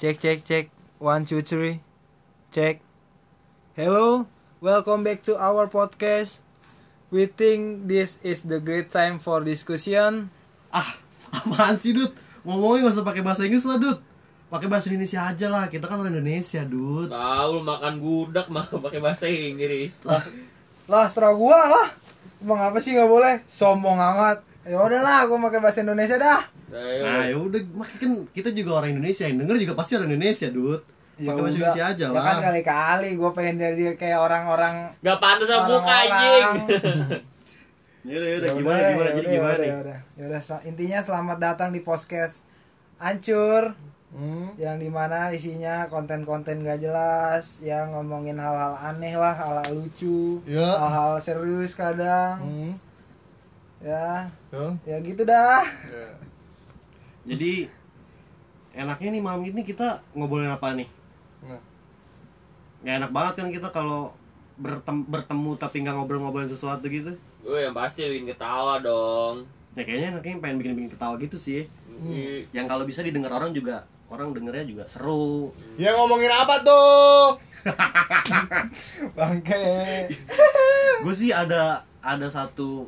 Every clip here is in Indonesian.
Cek cek cek. One two three. Cek. Hello, welcome back to our podcast. We think this is the great time for discussion. Ah, apaan sih, Dut? Ngomongnya gak usah pakai bahasa Inggris lah, Dut. Pakai bahasa Indonesia aja lah. Kita kan orang Indonesia, Dut. Tahu lu makan gudak mah pakai bahasa Inggris. Lah, setelah gua lah. Emang apa sih nggak boleh? Sombong amat. Ya udahlah, gua pakai bahasa Indonesia dah. Nah, iya. Ayo. ya udah, makanya kan kita juga orang Indonesia. Yang denger juga pasti orang Indonesia, Dut. Ya Pakai udah. bahasa Indonesia aja Ya lah. kan kali-kali gua pengen jadi kayak orang-orang Gak pantas sama buka anjing. Orang-orang. Ya udah, ya udah, Ya gimana udah, gimana ya jadi udah, ya gimana udah, nih? ya udah. Ya udah, sel- intinya selamat datang di podcast Ancur yang dimana isinya konten-konten gak jelas yang ngomongin hal-hal aneh lah hal-hal lucu Ya. hal-hal serius kadang Hmm. ya Ya. ya gitu dah Ya. Jadi enaknya nih malam ini kita ngobrolin apa nih? Nah. Gak enak banget kan kita kalau bertem- bertemu tapi nggak ngobrol-ngobrolin sesuatu gitu. Gue yang pasti bikin ketawa dong. Ya kayaknya enaknya pengen bikin-bikin ketawa gitu sih. Ih, Yang kalau bisa didengar orang juga orang dengernya juga seru. Ya ngomongin apa tuh? bangke gue sih ada ada satu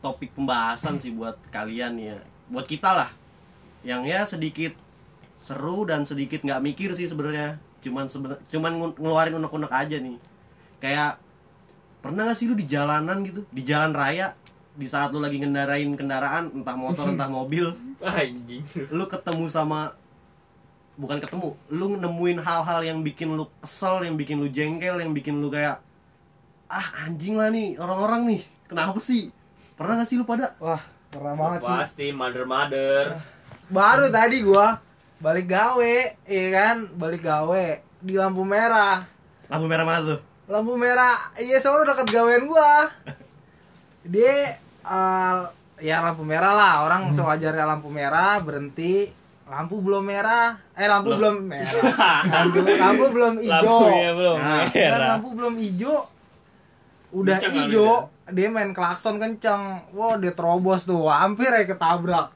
topik pembahasan sih buat kalian ya buat kita lah yang ya sedikit seru dan sedikit nggak mikir sih sebenarnya cuman seben- cuman ngu- ngeluarin unek-unek aja nih kayak pernah gak sih lu di jalanan gitu di jalan raya di saat lu lagi ngendarain kendaraan entah motor entah mobil Hmm. Anjing. lu ketemu sama bukan ketemu lu nemuin hal-hal yang bikin lu kesel yang bikin lu jengkel yang bikin lu kayak ah anjing lah nih orang-orang nih kenapa sih pernah gak sih lu pada wah pernah banget sih Pasti mother-mother. baru tadi gua balik gawe iya kan balik gawe di lampu merah lampu merah mana tuh lampu merah iya soalnya dekat gawean gua dia eh, ya lampu merah lah Hmm. orang sewajarnya lampu merah berhenti lampu belum merah eh lampu belum merah lampu, lampu belum hijau Lampunya belum Nah, kan merah. lampu belum hijau udah Kenceng kali hijau dia main klakson kenceng wah dia terobos tuh hampir ya ketabrak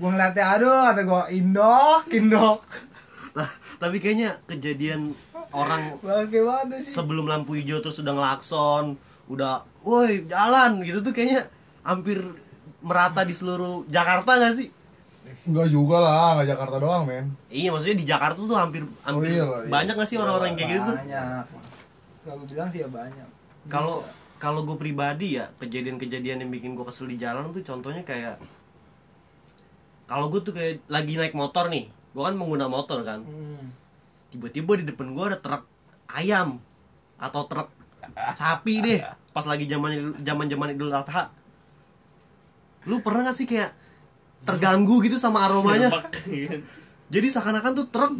gua ngeliatnya aduh ada gua indok indok nah tapi kayaknya kejadian orang bangke banget sih sebelum lampu hijau terus udah ngelakson udah woi jalan gitu tuh kayaknya hampir merata di seluruh Jakarta gak sih Enggak juga lah, enggak Jakarta doang, men. iya maksudnya di Jakarta tuh hampir hampir iya lah, iya. banyak gak sih orang-orang yang kayak gitu tuh? banyak kalau gue bilang sih ya banyak kalau kalau gue pribadi ya kejadian-kejadian yang bikin gue kesel di jalan tuh contohnya kayak kalau gue tuh kayak lagi naik motor nih gue kan pengguna motor kan hmm. tiba-tiba di depan gue ada truk ayam atau truk sapi deh pas lagi zaman zaman zaman idul adha lu pernah gak sih kayak terganggu gitu sama aromanya Iya, jadi seakan-akan tuh truk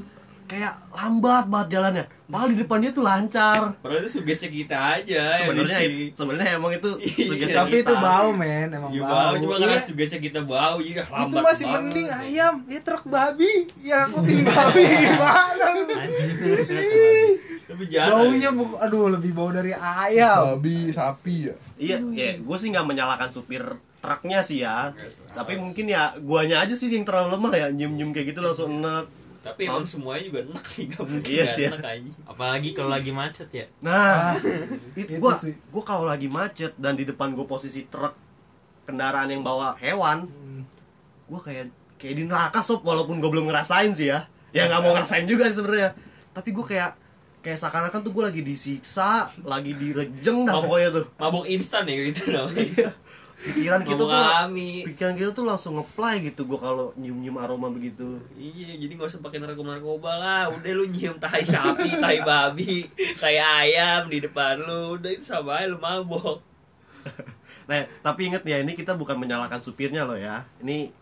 kayak lambat banget jalannya padahal di depan dia tuh lancar Padahal itu sugesti kita aja ya, yang sebenarnya mesti. sebenarnya emang itu Iya, sugesti Iya, Ya, tapi itu kita. bau men emang Ya bau, bau, cuma Iya, karena sugesti kita bau juga itu lambat masih banget. mending ayam ya truk babi ya akutin babi gimana lu? Iya. Tapi jangan. baunya bu- aduh lebih bau dari ayam Babi, sapi ya. iya ya gue sih nggak menyalahkan supir truknya sih ya tapi mungkin ya guanya aja sih yang terlalu lemah ya nyium nyium kayak gitu langsung enak Tapi emang semuanya juga enak sih, gak mungkin Iya gak sih, ya. enak anjing. Apalagi kalau lagi macet ya. nah Ah, itu gue sih. gue kalau lagi macet dan di depan gue posisi truk kendaraan yang bawa hewan Hmm. gue kayak kayak di neraka sob walaupun gue belum ngerasain sih ya ya nggak mau ngerasain juga sih sebenarnya tapi gue kayak kayak seakan-akan tuh gue lagi disiksa lagi direjeng dah pokoknya tuh Mabuk instan ya gitu Iya. namanya. pikiran kita Mabuk tuh alami. pikiran kita tuh langsung ngeplay gitu gua kalau nyium nyium aroma begitu Iya, jadi gak usah pakai narkoba narkoba lah. Udah lu nyium tai sapi, tai babi, tai ayam di depan lu. Udah itu sama aja lu mabok. nah tapi inget ya ini kita bukan menyalahkan supirnya loh ya ini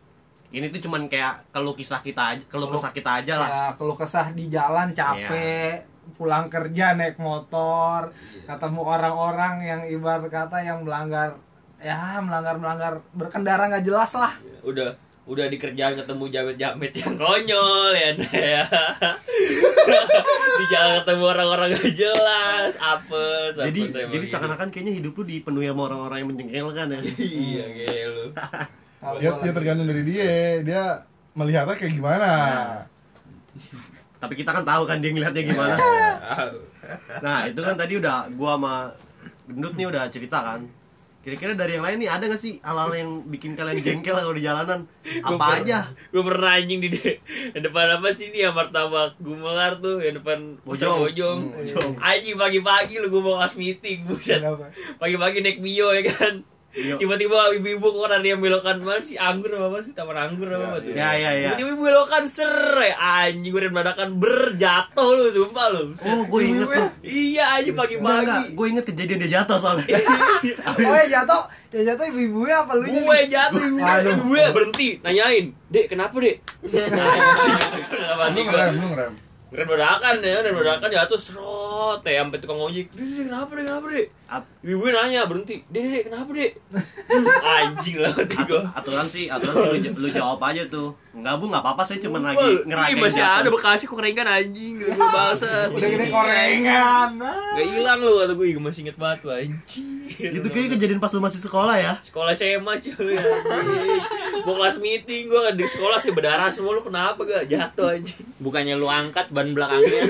ini tuh cuman kayak keluh kisah kita aja keluh Keluh- kesah kita aja lah Iya. ya kalau kesah di jalan capek pulang kerja naik motor ketemu orang-orang yang ibarat kata yang melanggar ya melanggar melanggar berkendara nggak jelas lah Udah udah di kerjaan ketemu jamet-jamet yang konyol ya Nda, ya. di jalan ketemu orang-orang gak jelas apes apes jadi emang jadi gitu. seakan-akan kayaknya hidup lu dipenuhi sama orang-orang yang menjengkelkan ya iya kayak lu Kalau Dia, gua dia lagi- tergantung dari dia. Dia melihatnya kayak gimana. tapi kita kan tahu kan dia ngeliatnya gimana Iya. nah itu kan tadi udah gua sama gendut nih udah cerita kan kira-kira dari yang lain nih ada gak sih hal-hal yang bikin kalian jengkel kalau di jalanan apa aja gue pernah anjing di de- yang depan apa sih nih yang martabak gumelar tuh yang depan pusat Bojong. bojong Hmm, Bojong. anjing pagi-pagi lu gue mau kelas meeting buset Kenapa? pagi-pagi naik bio ya kan Iya. tiba-tiba ibu-ibu kok ada yang belokan mana sih anggur apa apa sih taman anggur apa apa tuh ya ya ya tiba-tiba ibu belokan ser eh, anjing gue dadakan berjatuh lu sumpah lu buset. oh gue inget tuh iya anjing Enggak, pagi-pagi gue inget kejadian dia jatuh soalnya Iya. Oh ya jatuh, ya jatuh ibu-ibunya apa lu gue jatuh Aduh. gue berhenti nanyain dek kenapa dek Iya. Nah, Anjing, kenapa Lu nih gua? ngerem, lu ngerem. Keren dadakan ya, dan dadakan jatuh serot ya sampai tukang ojek. Dek, dek, kenapa deh, kenapa deh? At- Ibu gue nanya berhenti. Dek, dek, kenapa deh? Anjing lah hati gue. aturan sih aturan sih lu, j- lu jawab aja tuh nggak bu nggak apa-apa saya cuman lagi Wah, ngeragain Ih, Iya, masih jatuh. ada bekasnya kok keringan anjing. Gue bahasa. Udah gede korengan. ah. Gak hilang lu kata gue, gue masih inget banget tuh anjing. itu Gitu kayaknya kejadian pas lu masih sekolah ya sekolah SMA cuy anjing. Mau kelas meeting gue di sekolah sih berdarah semua lu kenapa gak jatuh anjing. Bukannya lu angkat ban belakangnya.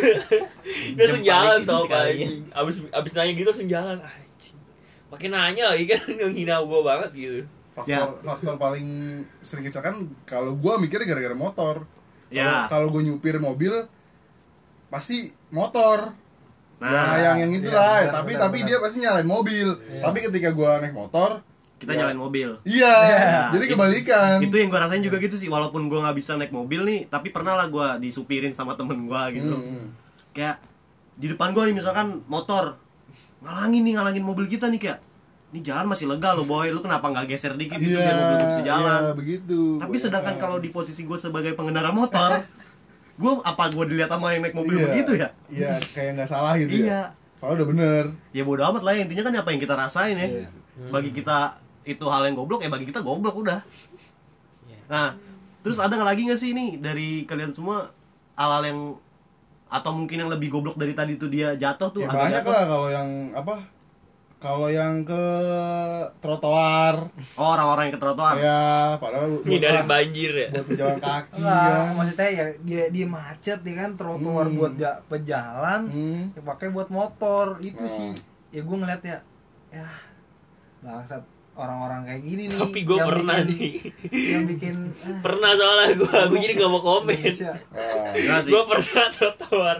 Dia langsung Jempol jalan gitu dikit tau Pak sekali. anjing. Abis, abis nanya gitu langsung jalan anjing. Makin nanya lagi kan menghina gue banget gitu Faktor Ya. faktor paling sering kecelakaan kalau gua mikirnya gara-gara motor. Kalau- Ya. Kalau gua nyupir mobil pasti motor. nah, Nah, yang yang iya, itulah, benar, tapi benar, tapi benar. dia pasti nyalain mobil. Tapi ketika gua naik motor, kita ya, nyalain mobil Iya, Iya. jadi kebalikan. itu yang gue rasain juga gitu sih walaupun gue nggak bisa naik mobil nih tapi pernah lah gue disupirin sama temen gue gitu Hmm. kayak di depan gue nih misalkan motor ngalangin nih ngalangin mobil kita nih kayak ini jalan masih lega loh boy lu kenapa nggak geser dikit gitu biar mobil gue bisa jalan iya, begitu. tapi sedangkan kalau di posisi gue sebagai pengendara motor gue apa gue dilihat sama yang naik mobil Iya. begitu ya Iya, kayak nggak salah gitu Iya. ya. Kalau udah bener. ya bodo amat lah ya, intinya kan apa yang kita rasain ya Iya. bagi kita itu hal yang goblok ya bagi kita goblok udah nah terus ada lagi nggak sih ini dari kalian semua hal-hal yang atau mungkin yang lebih goblok dari tadi tuh dia jatuh tuh Ya, ada banyak jatuh. lah kalau yang apa? Kalau yang ke trotoar, oh orang-orang yang ke trotoar ya padahal buat- Ngindarin buat- banjir ya buat pejalan kaki ya. Enggak, maksudnya ya dia, dia macet ya kan trotoar Hmm. buat ja, pejalan Hmm. ya pakai buat motor itu Nah. sih ya gue ngeliatnya ya bangsat orang-orang kayak gini nih Tapi gue yang pernah bikin- nih yang bikin ah, Pernah soalnya gue, gue jadi gak mau komen Indonesia. Ah. Enggak sih. Gue pernah trotoar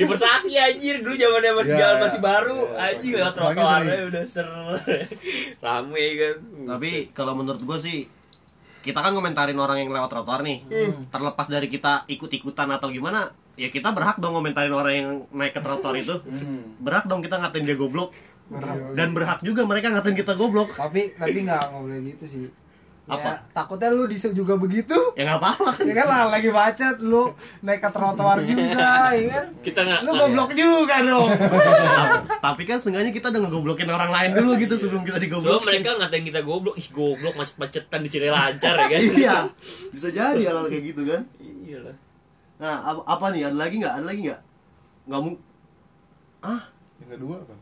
Di Persaki anjir, dulu zamannya masih Ya, jalan ya. masih baru Ya, Anjing Persaki. lewat Persaki trotoarnya sering. udah ser Rame kan tapi kalau menurut gue sih kita kan komentarin orang yang lewat trotoar nih terlepas dari kita ikut-ikutan atau gimana ya kita berhak dong komentarin orang yang naik ke trotoar itu Hmm. berhak dong kita ngatain dia goblok dan berhak juga mereka ngatain kita goblok tapi tapi nggak nggak boleh gitu sih Ya, Apa? takutnya lu disu juga begitu ya nggak apa-apa kan ya kan lah lagi macet lu naik ke trotoar juga ya kan Kita nggak- lu goblok juga dong tapi kan seenggaknya kita udah ngegoblokin orang lain dulu gitu sebelum kita Cuma digoblok mereka ngatain kita goblok Ih goblok macet-macetan di sini lancar ya kan iya bisa jadi hal kayak gitu kan Iya lah nah apa, apa nih ada lagi nggak ada lagi nggak nggak mau ah Yang kedua apa?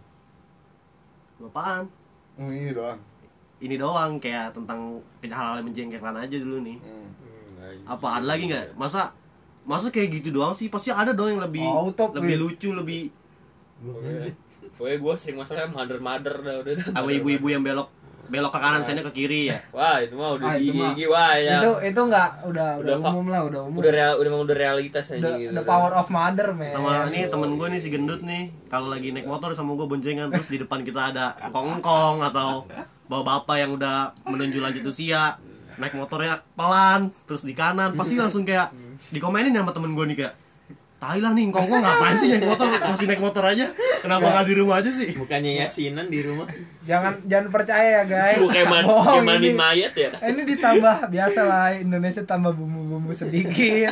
apaan Hmm, ini doang. ini doang kayak tentang hal-hal yang menjengkelkan aja dulu nih Hmm. apa ada lagi nggak masa masa kayak gitu doang sih pasti ada dong yang lebih Oh, utop, lebih Wi. lucu lebih Pokoknya gue sering masalahnya mother-mother dah udah dah. sama ibu-ibu yang belok belok ke Iya. kanan sana ke kiri ya Wah itu mah udah Ah, itu mah. gigi wah ya itu itu nggak udah udah, Udah fa- umum lah udah umum udah real udah emang udah realitas aja the, gitu the kan. power of mother man sama nih temen gue nih si gendut nih kalau lagi naik motor sama gue boncengan terus di depan kita ada kongkong atau bawa bapak yang udah menuju lanjut usia naik motornya pelan terus di kanan pasti langsung kayak dikomenin sama temen gue nih kayak tai lah nih kongkong ngapain sih naik motor masih naik motor aja kenapa nggak di rumah aja sih Bukannya yasinan di rumah. jangan jangan percaya ya guys Lu kayak man- Bohong kayak mandiin ini. mayat ya Eh, ini ditambah biasa lah Indonesia tambah bumbu-bumbu Iya. sedikit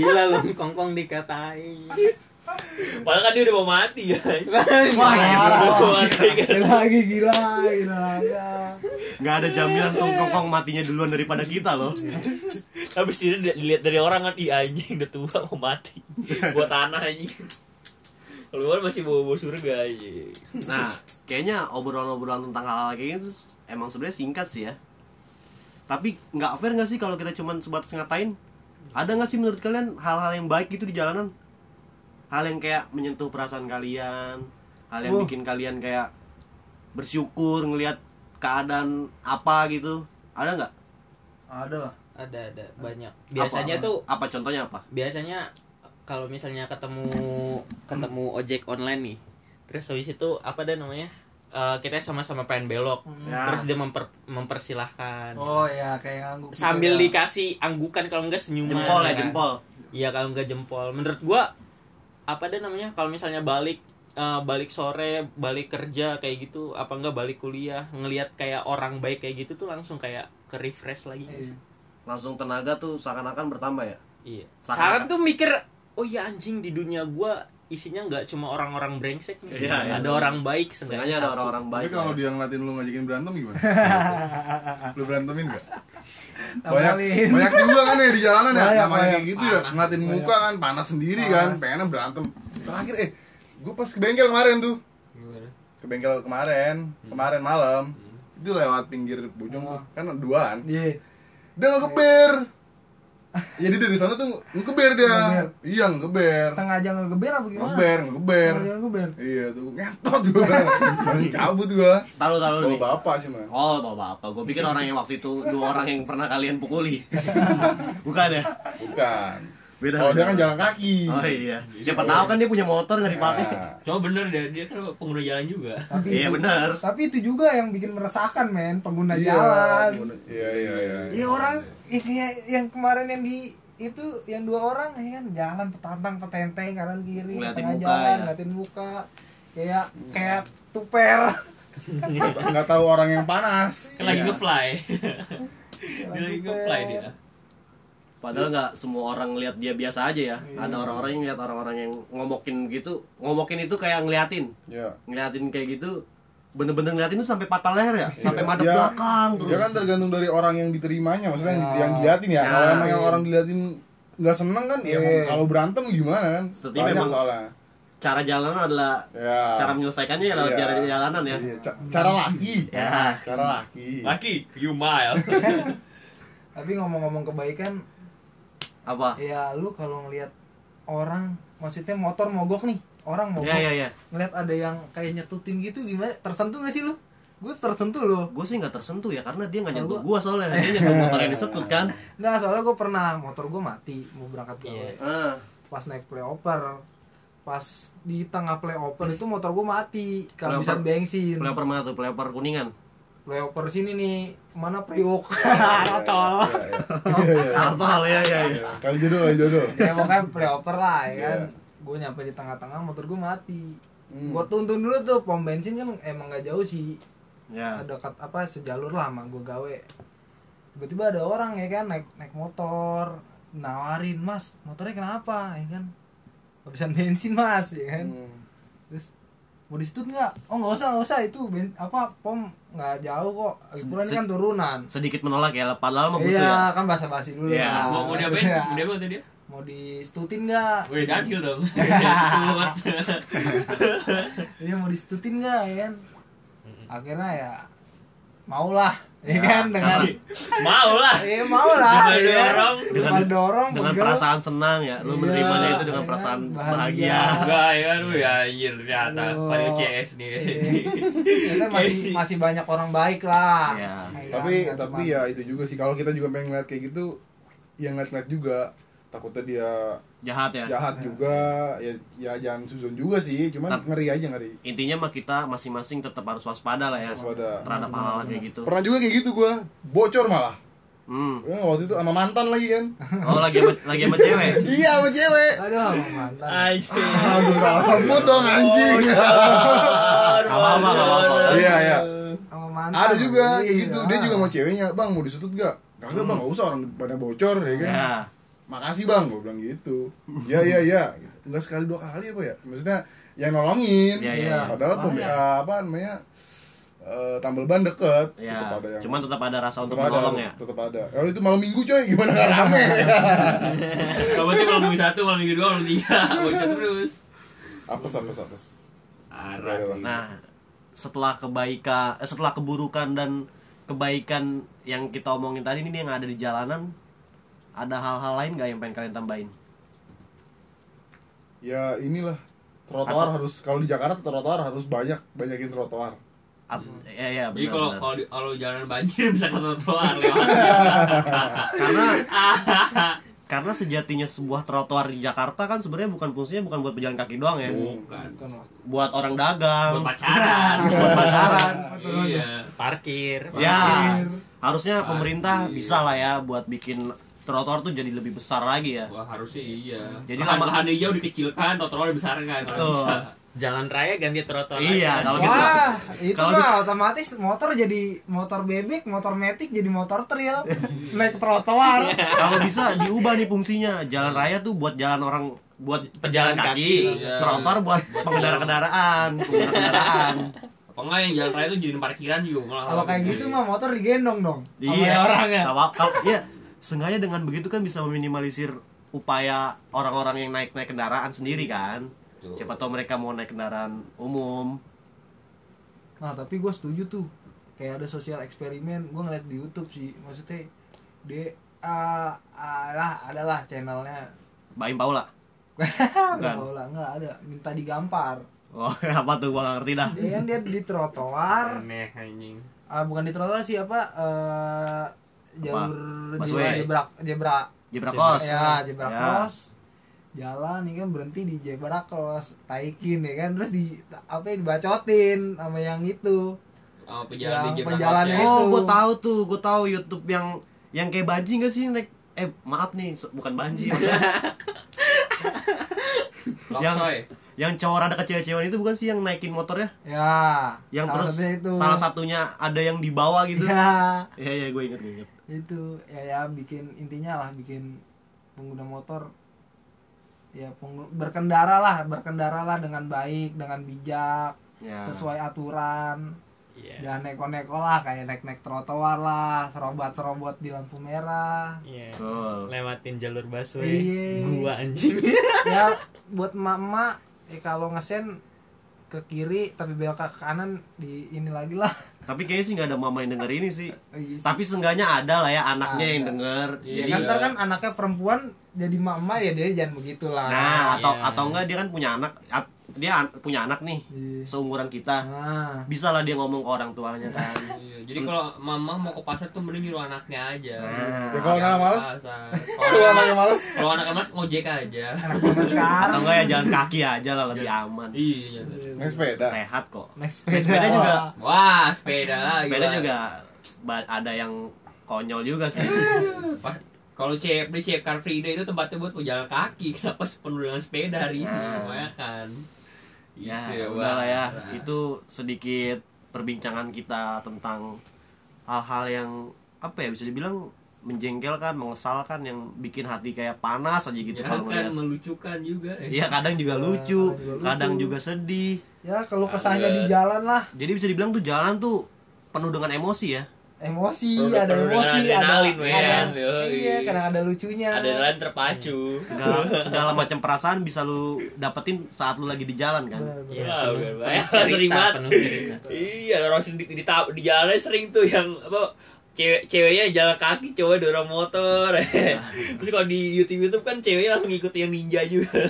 Gila lu kongkong dikatain. padahal kan dia udah mau mati ya wah gila Udah mau mati kan lagi gila gila ya. gila. nggak ada jaminan tuh kongkong matinya duluan daripada kita loh habis itu dia- dilihat dari orang kan ih anjing udah tua mau mati buat tanah anjing keluar masih bawa bawa surga aja Nah, kayaknya obrolan-obrolan tentang hal-hal kayak gitu emang sebenarnya singkat sih ya. Tapi nggak fair nggak sih kalau kita cuman sebatas ngatain? Ada nggak sih menurut kalian hal-hal yang baik gitu di jalanan? Hal yang kayak menyentuh perasaan kalian, hal yang Wah. bikin kalian kayak bersyukur ngelihat keadaan apa gitu. Ada nggak? ada lah ada ada banyak biasanya Apa- tuh apa contohnya apa? biasanya kalau misalnya ketemu ketemu ojek online nih terus habis itu apa dah namanya Eh, kita sama-sama pengen belok Ya. terus dia memper, mempersilahkan oh ya kayak ngangguk gitu sambil ya. dikasih anggukan kalau enggak senyuman Jempol ya, kan. jempol. iya kalau enggak jempol menurut gua apa dah namanya kalau misalnya balik eh, balik sore balik kerja kayak gitu apa enggak balik kuliah ngelihat kayak orang baik kayak gitu tuh langsung kayak ke refresh lagi Iya. Langsung tenaga tuh seakan-akan bertambah ya. Iya. Seakan- Sekarang tuh mikir, oh iya anjing di dunia gua isinya nggak cuma orang-orang brengsek nih. Iya, iya. ada orang baik Seenggaknya sebenarnya. ada orang-orang Tapi baik. kalau ya. dia ngeliatin lu ngajakin berantem gimana? lu berantemin gak? Banyak, Tambalin. banyak juga kan ya di jalanan ya Banyak, Namanya kayak banyak. gitu ya Ngeliatin muka kan, panas sendiri kan Pengennya berantem Terakhir eh, gue pas ke bengkel kemarin tuh Ke bengkel kemarin, kemarin malam Itu lewat pinggir bojong tuh, kan duaan Iya. Dia ngekeber Jadi dari sana tuh ngekeber dia Ngeber. Iya ngekeber sengaja ngegeber apa gimana Ngekeber, ngekeber sengaja ngegeber Iya tuh, ngentot gua Baru cabut gua Taruh taruh Bawa nih. bapak cuma Oh, bapak apa? Gue pikir orang yang waktu itu dua orang yang pernah kalian pukuli. Bukan ya? Bukan. Beda, Kalau beda. dia kan jalan kaki. Oh iya. Siapa tahu kan dia punya motor nggak dipakai. Nah, Cuma bener dia, dia kan pengguna jalan juga. tapi Iya benar. tapi itu juga yang bikin meresahkan men pengguna iya, Nah, jalan Iya iya iya. Iya orang ya, kayak yang kemarin yang di itu yang dua orang ya kan jalan petantang petenteng kanan kiri Ngeliatin tengah muka, jalan ya. ngeliatin muka kayak kayak tuper Enggak tahu orang yang panas. Kan lagi Iya. ngefly. dia Lagi lagi ngefly. ngefly dia. Padahal nggak semua orang ngeliat dia biasa aja ya. Iya. Ada orang-orang yang ngeliat orang-orang yang ngomokin gitu, ngomokin itu kayak ngeliatin, Iya. ngeliatin kayak gitu. Bener-bener ngeliatin itu sampai patah leher ya, sampai Iya. madep Dia- belakang terus. Dia kan tergantung dari orang yang diterimanya, maksudnya yang- Ya. yang diliatin ya. Kalau Ya. emang yang orang diliatin nggak seneng kan, ya Iya. kalau berantem gimana kan? Seperti Banyak memang- soalnya. Cara jalanan adalah Ya. cara menyelesaikannya ya lewat Iya. cara jalanan ya. Iya, ca- cara laki. Ya. Cara laki. Laki, you mile. tapi ngomong-ngomong kebaikan Apa? Iya. ya lu kalau ngelihat orang maksudnya motor mogok nih orang mogok Ya ya ya. ngeliat ada yang kayak nyetutin gitu gimana tersentuh gak sih lu gue tersentuh loh Gue sih nggak tersentuh ya karena dia nggak nyentuh Kalau gue soalnya dia nyentuh motor yang disetut kan. nggak soalnya gue pernah motor gue mati mau berangkat gawe Iya. Ah. pas naik playoper pas di tengah playoper itu motor gue mati kehabisan Playoper- bensin Peleper mana tuh? Peleper kuningan. playoper sini nih mana priok Iya, iya. Iya, iya. Apa ya ya ya. Kali jodoh, kali jodoh. ya pokoknya playoper lah ya kan Iya. gue nyampe di tengah-tengah motor gue mati Hmm. gue tuntun dulu tuh pom bensin kan emang gak jauh sih Ya. Iya. dekat apa sejalur lah sama gue gawe tiba-tiba ada orang ya kan naik naik motor nawarin mas motornya kenapa ya kan habisan bensin mas ya kan Hmm. terus mau disetut nggak oh nggak usah nggak usah itu ben, apa pom nggak jauh kok ukuran Se- kan turunan Sedikit menolak ya, padahal mah butuh ya. iya kan basa basi dulu Iya. lah. Mau mau diapain? Iya. Mau diapain tadi dia? mau disetutin nggak Wih, Daniel dong. Dia sekut. iya mau disetutin nggak ya kan akhirnya ya maulah ya kan dengan Mau lah. Iya mau lah. Dengan ya kan? dorong. dengan Dengan- dorong Dengan pegel. perasaan senang ya. Iya, Lu menerimanya itu dengan iya, perasaan bahagia. bahagia. Enggak ya, lu ya anjir ternyata Aduh. paling CS nih. Iya. Ternyata masih masih banyak orang baik lah. Iya. Ya tapi kan? Nggak tapi cuma- ya itu juga sih kalau kita juga pengen ngeliat kayak gitu ya ngeliat-ngeliat juga takutnya dia Jahat ya. jahat juga ya ya jangan susun juga sih cuman Tapi- ngeri aja ngeri Intinya mah kita masing-masing tetap harus waspada lah ya. Waspada. Hmm. Terhadap hal-hal kayak gitu. pernah juga kayak gitu gua bocor malah Hmm. Ya, waktu itu sama mantan lagi kan Oh lagi sama, lagi sama cewek. iya sama cewek Aduh, Bang Mantan. Anjir. aduh salah semut dong anjing Apa apa apa. apa. iya iya Sama mantan. ada juga kayak Iya. gitu dia juga mau ceweknya bang mau disutut gak kagak bang gak usah orang pada bocor ya kan Ya. makasih bang gue bilang gitu ya ya ya nggak sekali dua kali apa ya maksudnya yang nolongin Iya, iya, iya. padahal pem- apa namanya eh tambal ban deket Ya. tetap ada yang Cuman tetap ada rasa untuk tetap ada menolong ya. tetap ada kalau itu malam minggu coy gimana gak rame Kamu tuh malam minggu satu, malam minggu dua, malam minggu tiga, bocor terus. apes apes apes Iya, Parah. Udah, udah. Nah, setelah kebaikan, eh, setelah keburukan dan kebaikan yang kita omongin tadi ini yang ada di jalanan, ada hal-hal lain nggak yang pengen kalian tambahin ya inilah trotoar harus kalau di Jakarta trotoar harus banyak banyakin trotoar Ap- ya ya Hmm. Jadi benar, kalau benar. kalau di- kalau jalanan banjir bisa ke trotoar lewat. karena karena sejatinya sebuah trotoar di Jakarta kan sebenarnya bukan fungsinya bukan buat pejalan kaki doang ya Bukan. buat orang dagang Buat pacaran. buat pacaran iya. parkir ya harusnya pemerintah bisa lah ya buat bikin trotoar tuh jadi lebih besar lagi ya Wah harusnya iya. Jadi Jadi lahan, lama- lahan hijau dikecilkan, trotoar dibesarkan kalau Betul. bisa. jalan raya ganti trotoar Iya, lagi. kalau gitu. Wah, itu Kalau mah otomatis motor jadi motor bebek, motor metik jadi motor trail, naik trotoar. kalau bisa diubah nih fungsinya jalan raya tuh buat jalan orang buat pejalan Pejalan kaki, kaki. Iya. trotoar buat pengendara kendaraan pengendara kendaraan Apa enggak yang jalan raya itu jadi parkiran juga malah. Kalau kayak gitu mah motor digendong dong. sama iya orang ya. Kalau- kalau iya sengaja dengan begitu kan bisa meminimalisir upaya orang-orang yang naik naik kendaraan sendiri kan Betul. siapa tahu mereka mau naik kendaraan umum Nah, tapi gue setuju tuh. Kayak ada sosial eksperimen, gue ngeliat di YouTube sih. Maksudnya dia ah, ah, lah adalah channelnya Baim Paula nggak tahu lah nggak ada minta digampar oh apa tuh gua nggak ngerti dah dia kan dia di trotoar aneh anjing ah, bukan di trotoar sih apa eh, jalur Busway. jebra jebra Jebra kos ya jebra Ya. cross jalan ya kan berhenti di jebra cross taikin ya kan terus di apa ya, dibacotin sama yang itu Oh, pejalan Yang di jam pejalan nafas ya. itu. oh gua tahu tuh gua tahu YouTube yang yang kayak banji nggak sih naik eh maaf nih so- bukan banji maksudnya Yang- Loksoy. yang cowok rada kecewa-cewaan itu bukan sih yang naikin motornya ya yang salah terus satunya itu salah satunya ada yang di bawah gitu ya ya ya gue inget gue inget itu ya ya bikin intinya lah bikin pengguna motor ya penggu- berkendara lah berkendara lah dengan baik dengan bijak ya. sesuai aturan iya jangan neko-neko lah kayak naik-naik trotoar lah serobot-serobot di lampu merah Iya. Betul. lewatin jalur busway Iya. gua anjing ya buat emak-emak ya kalau ngesen ke kiri tapi belok ke kanan di ini lagi lah tapi kayaknya sih nggak ada mama yang denger ini sih Oh, iya sih. tapi seenggaknya ada lah ya anaknya Ada. yang denger Iya. jadi ya kan ntar kan anaknya perempuan jadi emak-emak ya dia jangan begitulah nah atau Iya. atau enggak dia kan punya anak ap- dia an- punya anak nih Iya. seumuran kita nah bisa lah dia ngomong ke orang tuanya kan Iya, Jadi kalau mama mau ke pasar tuh mending nyuruh anaknya aja. Nah. Ya, Jangan kalau anak ke males? pasar. Kalau anaknya males Kalau anaknya mas ngojek aja. anak nah, zaman atau sekarang enggak ya jalan kaki aja lah lebih aman Iya. naik sepeda sehat kok naik sepeda, Naik sepeda juga Wah, sepeda Iya, lagi. sepeda Pak. juga ba- ada yang konyol juga sih Pas- Kalau CFD, CF Car Free Day itu tempatnya buat pejalan kaki. Kenapa sepenuh dengan sepeda hari ini? Nah. Kebanyakan. Gitu ya Wak. udah lah ya Nah. itu sedikit perbincangan kita tentang hal-hal yang apa ya bisa dibilang menjengkelkan mengesalkan yang bikin hati kayak panas aja gitu Ya kalau kan ngeliat melucukan juga. ya. Iya kadang juga lucu, kadang juga lucu. kadang juga sedih. ya kalau kesahnya di Ada. jalan lah Jadi bisa dibilang tuh jalan tuh penuh dengan emosi ya. emosi Perlu- ada perlu emosi dengan ada adrenalin, men. ada- Yoi. iya karena ada lucunya Ada lain terpacu. Segala, segala macam perasaan bisa lu dapetin saat lu lagi di jalan kan. Bener, bener. Wah, udah banyak Cerita, sering banget. penuh cerita. Iya, orang sering di, di, ta- di jalan sering tuh yang apa cewek ceweknya jalan kaki cowok dorong motor terus kalau di YouTube YouTube kan ceweknya langsung ngikut yang ninja juga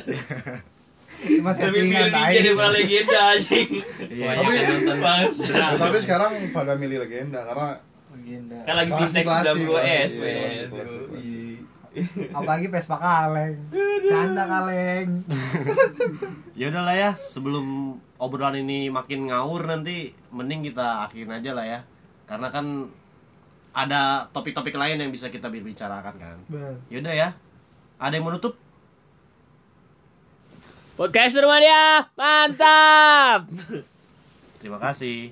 cuma lebih settingan milih ninja daripada tai. legenda anjing Iya. Banyak Tapi- yang nonton bangsa Ya, tapi sekarang pada milih legenda karena legenda kan lagi Klasik, bintang klasik, 90s klasik, iya, men klasik, klasik, klasik. apalagi Vespa kaleng canda kaleng Ya udah lah ya, sebelum obrolan ini makin ngaur nanti mending kita akhirin aja lah ya. Karena kan ada topik-topik lain yang bisa kita bicarakan kan. Bener. Ya udah ya. Ada yang menutup? podcast Rumania mantap Terima kasih.